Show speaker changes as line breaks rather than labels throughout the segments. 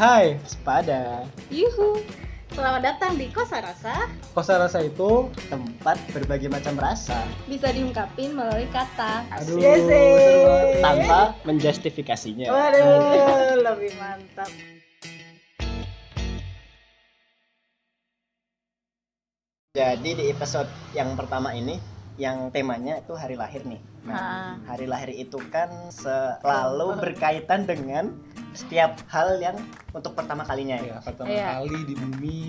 Hai, sepada.
Yuhu. Selamat datang di Kosa Rasa.
Kosa rasa itu tempat berbagai macam rasa.
Bisa diungkapin melalui kata.
Aduh,
Yes, eh.
seru banget. tanpa menjustifikasinya.
Waduh, lebih mantap.
Jadi di episode yang pertama ini, yang temanya itu hari lahir nih. Nah, hari lahir itu kan selalu berkaitan dengan setiap hal yang untuk pertama kalinya ya.
ya pertama
Iya.
kali di bumi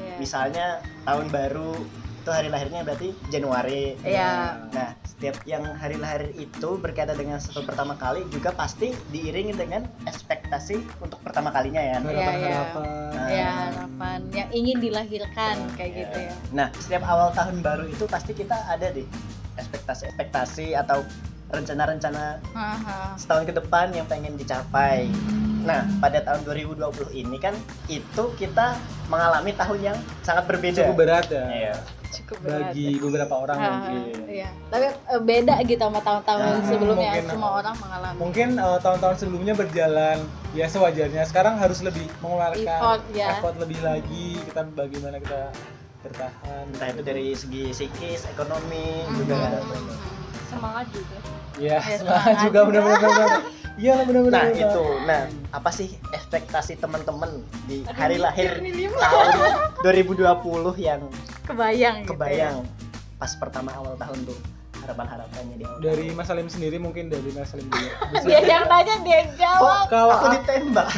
Iya.
Misalnya tahun baru itu hari lahirnya berarti Januari.
Iya.
Nah, setiap yang hari lahir itu berkaitan dengan satu pertama kali juga pasti diiringi dengan ekspektasi untuk pertama kalinya ya.
harapan
Iya,
harapan
iya.
Ya, harapan yang ingin dilahirkan kayak gitu ya.
Nah, setiap awal tahun baru itu pasti kita ada deh ekspektasi-ekspektasi atau rencana-rencana
Haha.
setahun ke depan yang pengen dicapai. Nah, pada tahun 2020 ini kan itu kita mengalami tahun yang sangat berbeda.
cukup berat ya
Iya.
Cukup berat.
bagi beberapa orang
Haha,
mungkin
Iya. Tapi eh, beda gitu sama tahun-tahun
Nah,
sebelumnya.
mungkin,
Semua
oh.
orang mengalami.
mungkin eh, tahun-tahun sebelumnya berjalan ya sewajarnya sekarang harus lebih mengeluarkan
Effort, ya.
effort lebih lagi kita bagaimana kita bertahan
Entah itu dari segi psikis, ekonomi
Mhm.
juga kan.
Semangat juga.
ya
Ya,
semangat
semangat
juga benar-benar benar. iya benar-benar
Nah,
benar.
itu. Nah, apa sih ekspektasi teman-teman di
Aduh,
hari lahir
mikir nih, Lim.
tahun 2020 yang
Kebayang. gitu ya.
kebayang pas pertama awal tahun tuh harapan-harapannya di awal
dari Mas Salim sendiri mungkin dari Mas Salim dulu.
Dia yang tanya dia yang jawab.
Kok
Kalau
aku ditembak?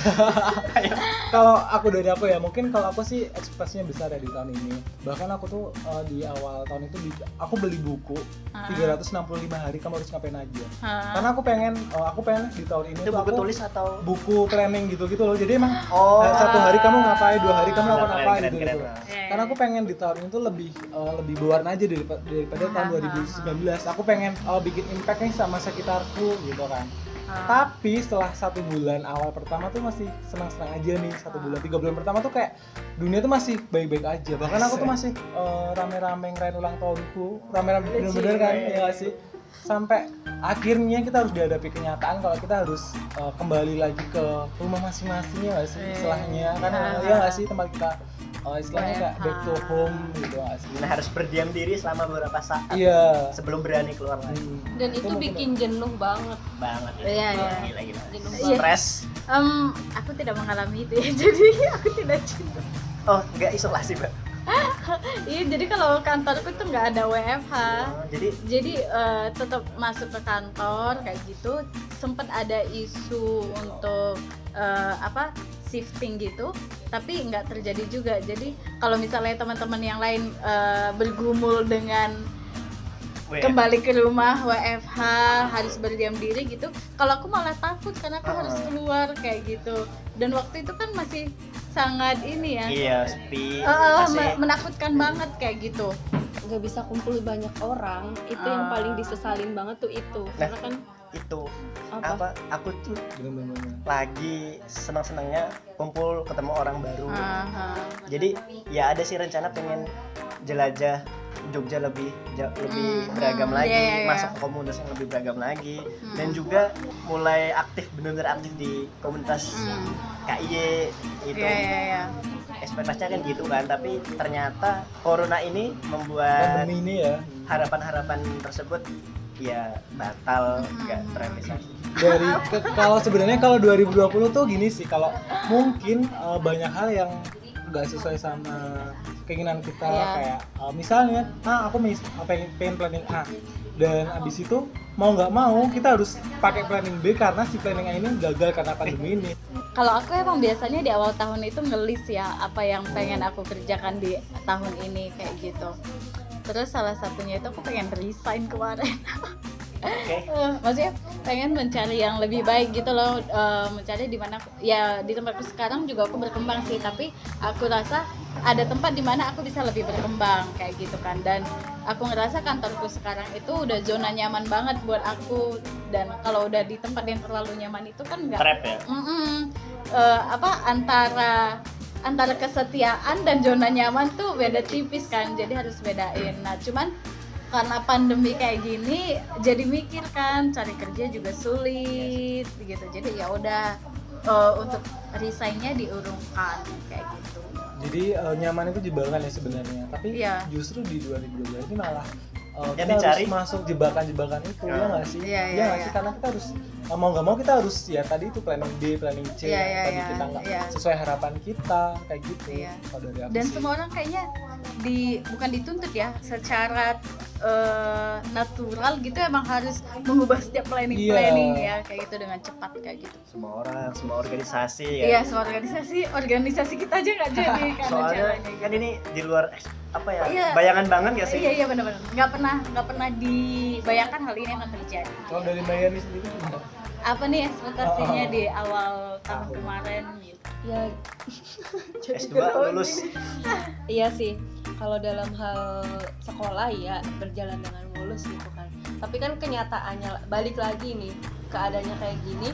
kalau aku dari aku ya mungkin kalau aku sih ekspektasinya besar ya di tahun ini bahkan aku tuh eh, di awal tahun itu di- aku beli buku 365 hari kamu harus ngapain aja
Hah.
karena aku pengen eh, aku pengen di tahun ini
Itu
tuh
buku
aku
tulis atau
buku planning gitu gitu loh jadi emang
oh
eh, satu hari kamu ngapain dua hari kamu
Keren,
lakukan apa
keren,
gitu,
keren.
gitu.
Iya,
karena aku pengen di tahun ini tuh lebih eh, lebih berwarna aja daripada, daripada tahun
Ah, ah, ah.
2019 aku pengen eh, bikin impact nih sama sekitarku gitu kan
Ah.
tapi setelah satu bulan awal pertama tuh masih senang-senang aja nih satu bulan tiga bulan pertama tuh kayak dunia tuh masih baik-baik aja bahkan aku tuh masih eh, rame-rame ngerayain ulang tahunku rame-rame bener-bener kan ya nggak sih sampai akhirnya kita harus dihadapi kenyataan kalau kita harus eh, kembali lagi ke rumah masing-masing ya nggak sih
Eh.
istilahnya karena
Ah.
ya nggak sih tempat kita eh, istilahnya kayak back to home gitu nggak sih
Nah, harus berdiam diri selama beberapa saat
iya
sebelum berani keluar lagi
Hmm.
Dan itu
mungkin-
bikin jenuh banget.
banget ya.
Iya, iya.
Gila, gila.
Jenuh banget.
Stres.
Em, aku tidak mengalami itu ya, jadi aku tidak cinta.
Oh, nggak isolasi, Mbak.
Iya, jadi kalau kantorku tuh nggak ada WFH.
Oh, jadi
Jadi eh, tetap masuk ke kantor kayak gitu. Sempet ada isu untuk eh, apa shifting gitu, tapi nggak terjadi juga. Jadi kalau misalnya teman-teman yang lain eh, bergumul dengan
weh,
kembali ke rumah WFH harus berdiam diri gitu kalau aku malah takut karena aku harus
Ah.
keluar kayak gitu dan waktu itu kan masih sangat ini ya
Iya, sepi.
eh, eh,
masih- Hmm.
me- menakutkan banget kayak gitu
nggak bisa kumpul banyak orang itu yang
Ah.
paling disesalin banget tuh itu karena kan
Nah, itu
apa,
apa aku tuh
bener-bener
lagi senang-senangnya kumpul ketemu orang baru.
Aha.
Jadi ya ada sih rencana pengen jelajah Jogja lebih ja- lebih
Hmm,
beragam
hmm,
lagi,
iya, iya, Hmm. iya.
masuk ke komunitas yang lebih beragam lagi, dan juga mulai aktif benar-benar aktif di komunitas
Hmm.
KIY itu.
Iya, iya, iya.
Ekspektasinya kan gitu kan, tapi ternyata corona ini membuat
pandemi ini ya
harapan-harapan tersebut ya batal,
Hmm.
nggak terrealisasi.
dari ke- kalau sebenarnya kalau 2020 tuh gini sih kalau mungkin uh, banyak hal yang nggak sesuai sama keinginan kita
Iya.
kayak uh, misalnya ah aku mis uh, pengen, pengen planning A dan abis itu mau nggak mau kita harus pakai planning B karena si planning A ini gagal karena pandemi ini
kalau aku emang biasanya di awal tahun itu ngelis ya apa yang pengen aku kerjakan di tahun ini kayak gitu terus salah satunya itu aku pengen resign kemarin
Oke.
Eh, maksudnya pengen mencari yang lebih baik gitu loh eh, mencari di mana aku- ya di tempatku sekarang juga aku berkembang sih tapi aku rasa ada tempat di mana aku bisa lebih berkembang kayak gitu kan dan aku ngerasa kantorku sekarang itu udah zona nyaman banget buat aku dan kalau udah di tempat yang terlalu nyaman itu kan nggak
Trap ya.
Mm-mm. Eh, apa antara antara kesetiaan dan zona nyaman tuh beda tipis kan jadi harus bedain nah cuman karena pandemi kayak gini jadi mikir kan cari kerja juga sulit gitu jadi ya udah eh, untuk resignnya diurungkan kayak gitu
Jadi eh, nyaman itu jebakan ya sebenarnya. Tapi
Iya.
justru di 2022 ini malah eh,
Yang
kita
dicari.
harus masuk jebakan-jebakan itu
Ya.
ya nggak sih?
Iya, iya,
Ya nggak
iya.
sih karena kita harus eh, mau nggak mau kita harus ya tadi itu planning B, planning C
Iya,
yang
iya,
tadi
iya,
kita nggak
iya.
sesuai harapan kita kayak gitu.
Iya.
Kalau dari aku
dan
sih.
semua orang kayaknya di bukan dituntut ya secara eh, natural gitu emang harus mengubah setiap planning planning
Iya.
ya kayak gitu dengan cepat kayak gitu
semua orang semua organisasi ya
iya soal organisasi organisasi kita aja nggak jadi karena
soalnya
jalannya
kan ini di luar eks- apa ya
Iya.
bayangan banget gak sih
iya iya benar-benar nggak pernah nggak pernah dibayangkan hal ini akan terjadi
Kalau dari Mbak Yani sendiri gimana?
apa nih ekspektasinya di awal tahun
Tahun.
kemarin gitu
ya
S2
Iya.
lulus
iya sih kalau dalam hal sekolah ya berjalan dengan mulus gitu kan tapi kan kenyataannya balik lagi nih keadaannya kayak gini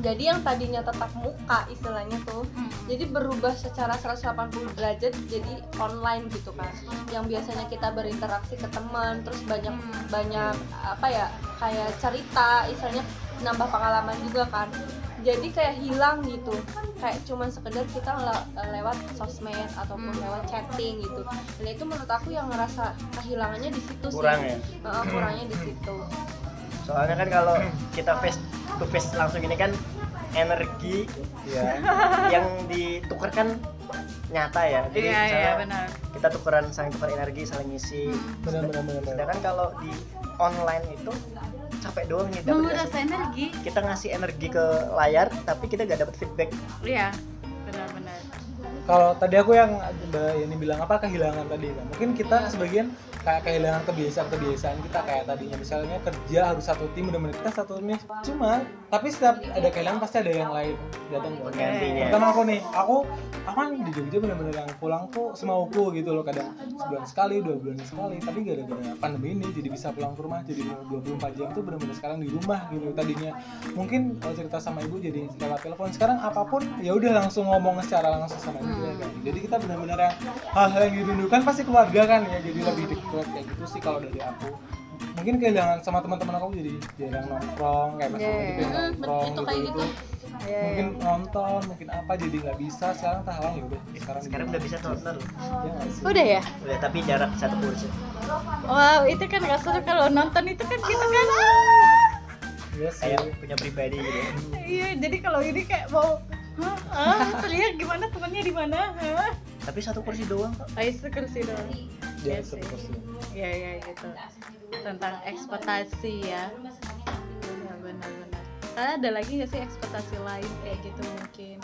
jadi yang tadinya tetap muka istilahnya tuh
Hmm.
jadi berubah secara 180 derajat jadi online gitu kan yang biasanya kita berinteraksi ke teman terus banyak banyak apa ya kayak cerita istilahnya nambah pengalaman juga kan jadi kayak hilang gitu kayak cuman sekedar kita le- lewat sosmed ataupun lewat chatting gitu dan itu menurut aku yang ngerasa kehilangannya di situ sih
kurang ya
Heeh, kurangnya di situ
soalnya kan kalau kita face to face langsung ini kan energi
Iya.
yang ditukarkan nyata ya jadi
iya iya
misalnya
benar Hmm.
kita tukeran saling tukar energi saling ngisi
Benar benar benar. benar.
sedangkan kalau di online itu capek doang nih dapet nggak
menguras
sih?
energi
kita ngasih energi ke layar tapi kita gak dapet feedback
iya benar-benar
kalau tadi aku yang Mbak Yani bilang apa kehilangan tadi kan mungkin kita sebagian kayak kehilangan kebiasaan-kebiasaan kita kayak tadinya misalnya kerja harus satu tim benar-benar kita satu tim cuma tapi setiap ada kehilangan pasti ada yang lain datang dong
penggantinya
pertama aku nih aku aku kan di Jogja bener-bener yang pulang tuh semauku gitu loh kadang sebulan sekali dua bulan sekali tapi gara-gara pandemi ini jadi bisa pulang ke rumah jadi mau 24 jam tuh bener-bener sekarang di rumah gitu tadinya mungkin kalau cerita sama ibu jadi lewat telepon sekarang apapun ya udah langsung ngomong secara langsung sama ibu ya, kayak gitu. jadi kita bener-bener yang hal-hal yang dirindukan pasti keluarga kan ya jadi lebih dekat kayak gitu sih kalau dari aku mungkin kehilangan sama teman-teman aku jadi jarang nongkrong kayak mas
Iya,
Ahmad
iya.
juga jarang nongkrong
Hmm, itu kayak gitu.
gitu-gitu
Iya,
mungkin nonton mungkin apa jadi nggak bisa sekarang tahalang ya udah sekarang
Iya, sekarang
di
udah
rumah.
bisa nonton
ya, nggak sih?
udah ya
udah tapi jarak satu kursi
wow itu kan nggak seru kalau nonton itu kan kita kan
Iya sih.
kayak punya pribadi gitu
iya jadi kalau ini kayak mau Hah? Ah, terlihat gimana temannya di mana? Hah?
tapi satu kursi doang kok
Ah, itu kursi doang. Iya
Iya sih.
sih. Iya iya gitu. Tentang ekspektasi ya. Benar benar benar. Kalian ada lagi nggak sih ekspektasi lain kayak gitu mungkin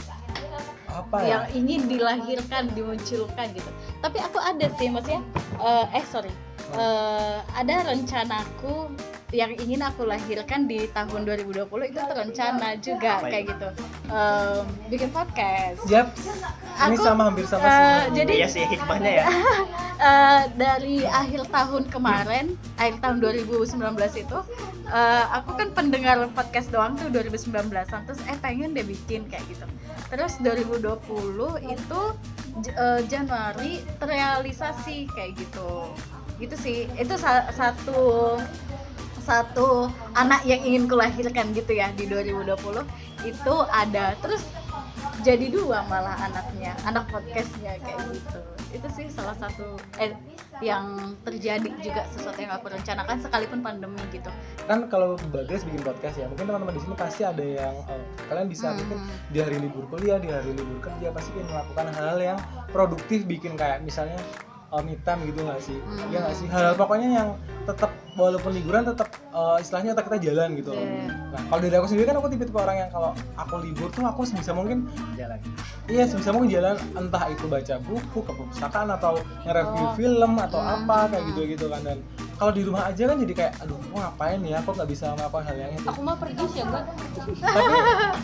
apa ya
yang ingin dilahirkan dimunculkan gitu. Tapi aku ada sih maksudnya eh, eh sorry Eh, ada rencanaku yang ingin aku lahirkan di tahun 2020 itu terencana juga
Apa itu?
kayak gitu Em, bikin podcast.
Yaps. ini
Aku,
sama hampir sama
eh,
semua.
jadi-
iya sih hikmahnya ya
Eh, dari akhir tahun kemarin, akhir tahun 2019 itu, eh, aku kan pendengar podcast doang tuh 2019-an, terus eh pengen deh bikin kayak gitu. Terus 2020 itu J- eh, Januari terrealisasi kayak gitu. Gitu sih, itu sa- satu satu anak yang ingin kulahirkan gitu ya di 2020 itu ada terus jadi dua malah anaknya anak podcastnya kayak gitu itu sih salah satu eh, yang terjadi juga sesuatu yang aku rencanakan sekalipun pandemi gitu
kan kalau bagas bikin podcast ya mungkin teman-teman di sini pasti ada yang eh, kalian bisa
Hmm.
mungkin di hari libur kuliah di hari libur kerja pasti ingin melakukan hal-hal yang produktif bikin kayak misalnya eh, me time gitu nggak sih
Hmm.
ya nggak sih hal-hal pokoknya yang tetap walaupun liburan tetap eh, istilahnya otak kita jalan gitu loh.
Iya.
Nah, kalau dari aku sendiri kan aku tipe-tipe orang yang kalau aku libur tuh aku sebisa mungkin
jalan
Iya, sebisa mungkin jalan entah itu baca buku ke perpustakaan atau
Oh.
nge-review film atau
Hmm,
apa kayak gitu-gitu kan dan kalau di rumah aja kan jadi kayak aduh aku ngapain ya aku nggak bisa melakukan hal yang itu
aku mah pergi sih ya gue
tapi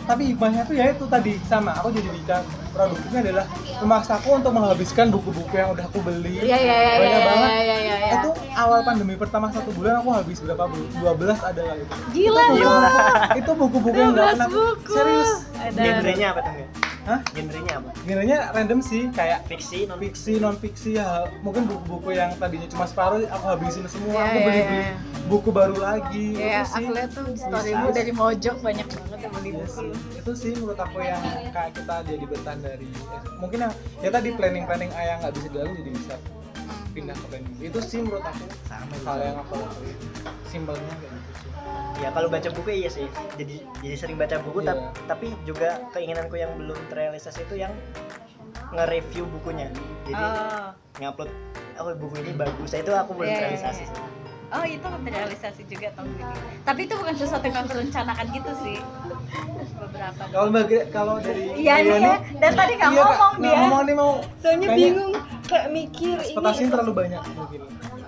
tapi hikmahnya tuh ya itu tadi sama aku jadi bisa produktifnya adalah memaksaku untuk menghabiskan buku-buku yang udah aku beli
Iya iya iya
banyak
iya
banget
iya iya iya, iya
itu awal pandemi pertama satu bulan aku habis berapa buku 12 ada lah gitu
gila
Itu buku- itu buku-buku yang nggak pernah
buku.
serius
Ada-
genrenya apa tuh Nge?
Hah?
Genrenya apa?
Genrenya random sih kayak
Fiksi, non fiksi.
fiksi non fiksi ya mungkin buku-buku yang tadinya cuma separuh aku habisin semua
Iya,
aku
iya,
beli-beli
iya.
buku baru lagi
Iya,
itu gitu sih
aku lihat tuh storymu
Bisa.
dari Mojok banyak banget yang beli
Iya
buku.
sih. itu sih menurut aku yang kayak kita jadi bertahan dari eh, mungkin yang ya tadi planning planning ayah nggak bisa jalan jadi bisa pindah ke planning itu sih menurut aku
Sama
hal
juga.
yang aku lakuin simpelnya kayak gitu sih
Ya kalau baca buku iya sih. Jadi jadi sering baca buku
Iya.
tap- tapi juga keinginanku yang belum terrealisasi itu yang nge-review bukunya. Jadi
Oh,
ngupload oh buku ini bagus. Nah, Itu aku belum
Iya, iya,
terrealisasi
iya.
sih.
oh itu terrealisasi juga tahun ini. Tapi itu bukan sesuatu yang aku rencanakan gitu sih. Beberapa.
kalau bagi kalau dari
Iya
Ria
nih ya. Dan tadi nggak
iya, Kak.
ngomong
Nggak
dia.
ngomong nih mau
soalnya
Kayaknya-
bingung kayak mikir
ekspektasinya
ini
terlalu banyak mungkin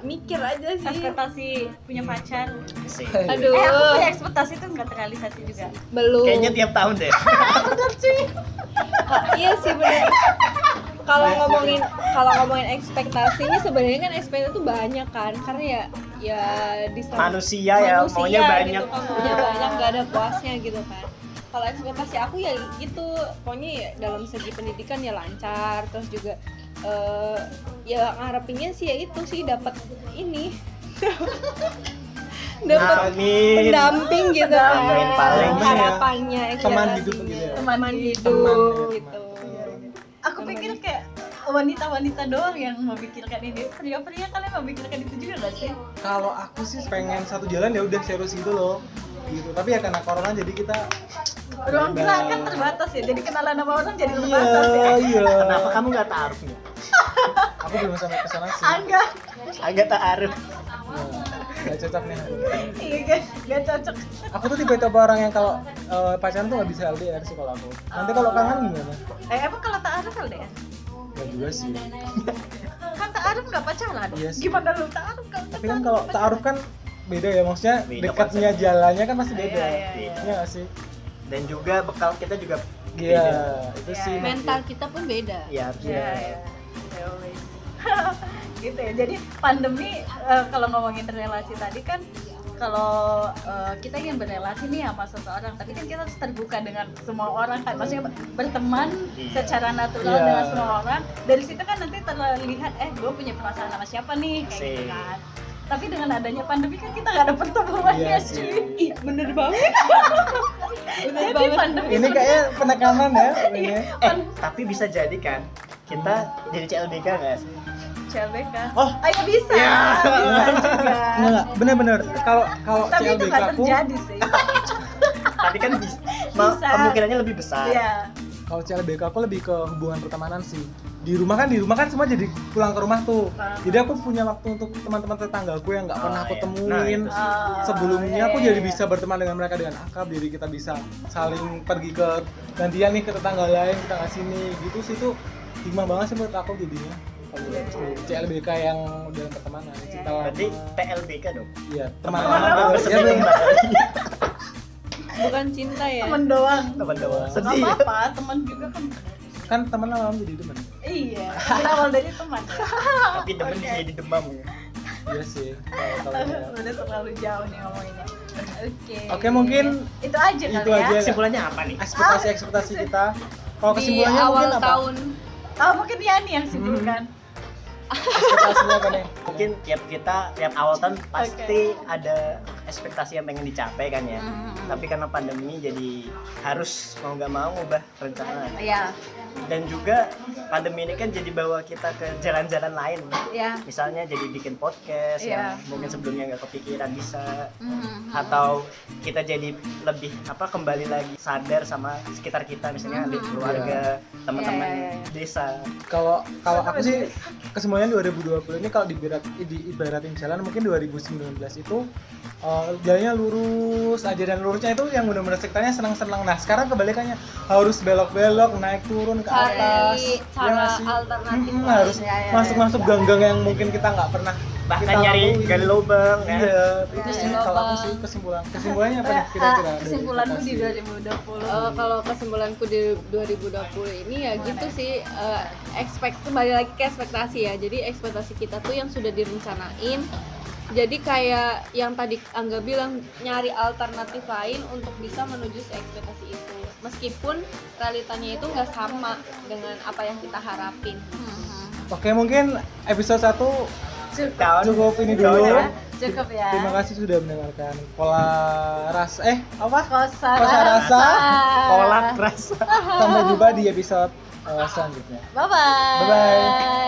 mikir aja sih
Ekspektasi punya pacar.
Sih.
aduh
Eh aku punya ekspektasi tuh nggak terrealisasi juga.
belum
Kayaknya tiap tahun deh.
Bener cuy.
iya sih benar kalau ngomongin kalau ngomongin ekspektasi ini sebenarnya kan ekspektasi tuh banyak kan karena ya ya di sana-
Manusia ya
manusia
maunya banyak.
gitu kan, maunya banyak gak ada puasnya gitu kan kalau ekspektasi aku ya gitu pokoknya ya dalam segi pendidikan ya lancar terus juga eh, ya ngarepinnya sih ya itu sih dapat ini dapat
Amin.
pendamping gitu kan
Pendamping paling. iya.
harapannya
iya,
Teman
ekspektasinya.
Iya. hidup gitu ya. Iya,
teman
Teman,
hidup
teman.
gitu
Aku pikir kayak wanita-wanita doang yang memikirkan ini. Pria-pria kalian memikirkan itu juga nggak sih?
kalau aku sih pengen satu jalan ya udah serius gitu loh gitu tapi ya karena corona jadi kita
Ruang gerak kan terbatas ya. Jadi kenalan sama orang jadi terbatas ya.
iya
Kenapa kamu nggak taruh?
aku belum sampai ke sana sih
Angga.
Agak taruh.
Nah, nggak cocok nih aku.
Iya guys, gak cocok.
aku tuh tipe-tipe orang yang kalau eh, pacaran tuh nggak bisa LDR sih kalau aku nanti kalau
Oh.
kangen gimana
Eh emang kalau Ta'aruf LDR?
nggak juga sih
Kan Ta'aruf gak pacaran?
Iya sih.
Gimana lu Ta'aruf gak
tapi kan kalau taaruf kan beda ya maksudnya
Beda
dekatnya jalannya kan pasti
Iya,
beda
iya,
iya.
Iya nggak sih
Dan juga bekal kita juga
iya
beda.
itu
Iya,
sih
iya.
mental kita pun beda
Ya harusnya.
Iya, iya. Ya, always. gitu ya. Jadi pandemi eh, kalau ngomongin relasi tadi kan kalau eh, kita ingin berrelasi nih sama seseorang, tapi kan kita harus terbuka dengan semua orang kan. Maksudnya berteman
Iya.
secara natural
Iya.
dengan semua orang. Dari situ kan nanti terlihat eh gue punya perasaan sama siapa nih kayak gitu
Sih.
kan. Tapi dengan adanya pandemi kan kita gak ada pertemuan ya
Iya sih.
cuy.
ih bener banget bener
Jadi
banget
pandemi
ini kayaknya penekanan ya
Iya.
ini
Eh, tapi bisa jadi kan kita jadi CLBK guys.
CLBK.
Oh.
kan. ayo bisa.
Ya.
Bisa juga.
nggak bener-bener kalau kalau
Tapi itu
CLBK
gak
aku
terjadi sih.
Tapi kan bis- ma-
Bisa.
kemungkinannya lebih besar.
Iya.
kalau CLBK aku lebih ke hubungan pertemanan sih di rumah kan di rumah kan semua jadi pulang ke rumah tuh
Ah.
jadi aku punya waktu untuk teman-teman tetanggaku yang nggak pernah
Oh,
aku
iya.
temuin
Nah, itu sih.
Oh,
sebelumnya
iya,
aku
iya,
jadi
iya.
bisa berteman dengan mereka dengan akrab jadi kita bisa saling pergi ke gantian nih ke tetangga lain tetangga sini gitu sih tuh hikmah banget sih menurut aku jadinya kalau
Iya, iya.
CLBK yang dalam pertemanan cinta lama
Berarti TLBK dong.
iya teman
Teman
lama
lama
ya
bersedih
bener.
bukan cinta ya
temen doang
teman doang.
nggak
Sedih. ya.
apa-apa temen juga kan
kan teman lama jadi teman
iya kita awal dari teman ya.
Tapi demen jadi demam ya.
iya sih kalau- kalau dia.
udah terlalu jauh nih ngomonginnya oke
oke mungkin
itu aja kali
itu
ya Ah.
aja
Kesimpulannya apa nih?
ekspektasi ekspektasi kita kalau
di
kesimpulannya
awal
mungkin apa
tahun
oh mungkin Yani yang simpulkan
ekspektasinya apa nih
Mungkin tiap kita tiap awal tahun pasti ada ekspektasi yang pengen dicapai kan ya.
Mm-hmm.
Tapi karena pandemi jadi harus mau nggak mau ubah rencana.
Iya,
ya
dan juga pandemi ini kan jadi bawa kita ke jalan-jalan lain
iya.
ya
misalnya jadi bikin podcast
Iya. Mm-hmm.
yang mungkin sebelumnya nggak kepikiran bisa atau kita jadi lebih apa kembali lagi sadar sama sekitar kita misalnya di keluarga teman-teman
Mm-hmm. Iya, iya, iya.
desa
kalau kalau aku sih kesemuanya 2020 ini kalau diberat diibaratin jalan mungkin 2019 itu eh, jalannya lurus aja dan lurusnya itu yang benar-benar sektarnya senang-senang nah sekarang kebalikannya harus belok-belok naik turun ke
Cari
atas ya
cara
nggak sih?
alternatif
Mm-mm,
lain.
harus
Ya, ya,
masuk-masuk gang-gang yang mungkin kita nggak pernah
bahkan
kita
nyari
lakuin.
gali lubang ya.
iya itu sih
Gali
kalau aku
lubang.
sih kesimpulan kesimpulannya apa nih kira-kira dari
Eh, kesimpulanmu Ah, di
ekspektasi?
2020
Eh, kalau kesimpulanku di 2020 ini ya gitu sih eh, expect kembali lagi ke ekspektasi ya jadi ekspektasi kita tuh yang sudah direncanain jadi kayak yang tadi Angga bilang nyari alternatif lain untuk bisa menuju si ekspektasi itu meskipun realitanya itu nggak sama dengan apa yang kita harapin
Oke mungkin episode 1
Down.
cukup ini
Down
dulu.
ya.
Cukup ya.
Terima kasih sudah mendengarkan kolas eh apa?
Kosa
Kosa rasa.
Kolak rasa.
Sampai jumpa di episode eh, selanjutnya.
Bye bye.
Bye-bye.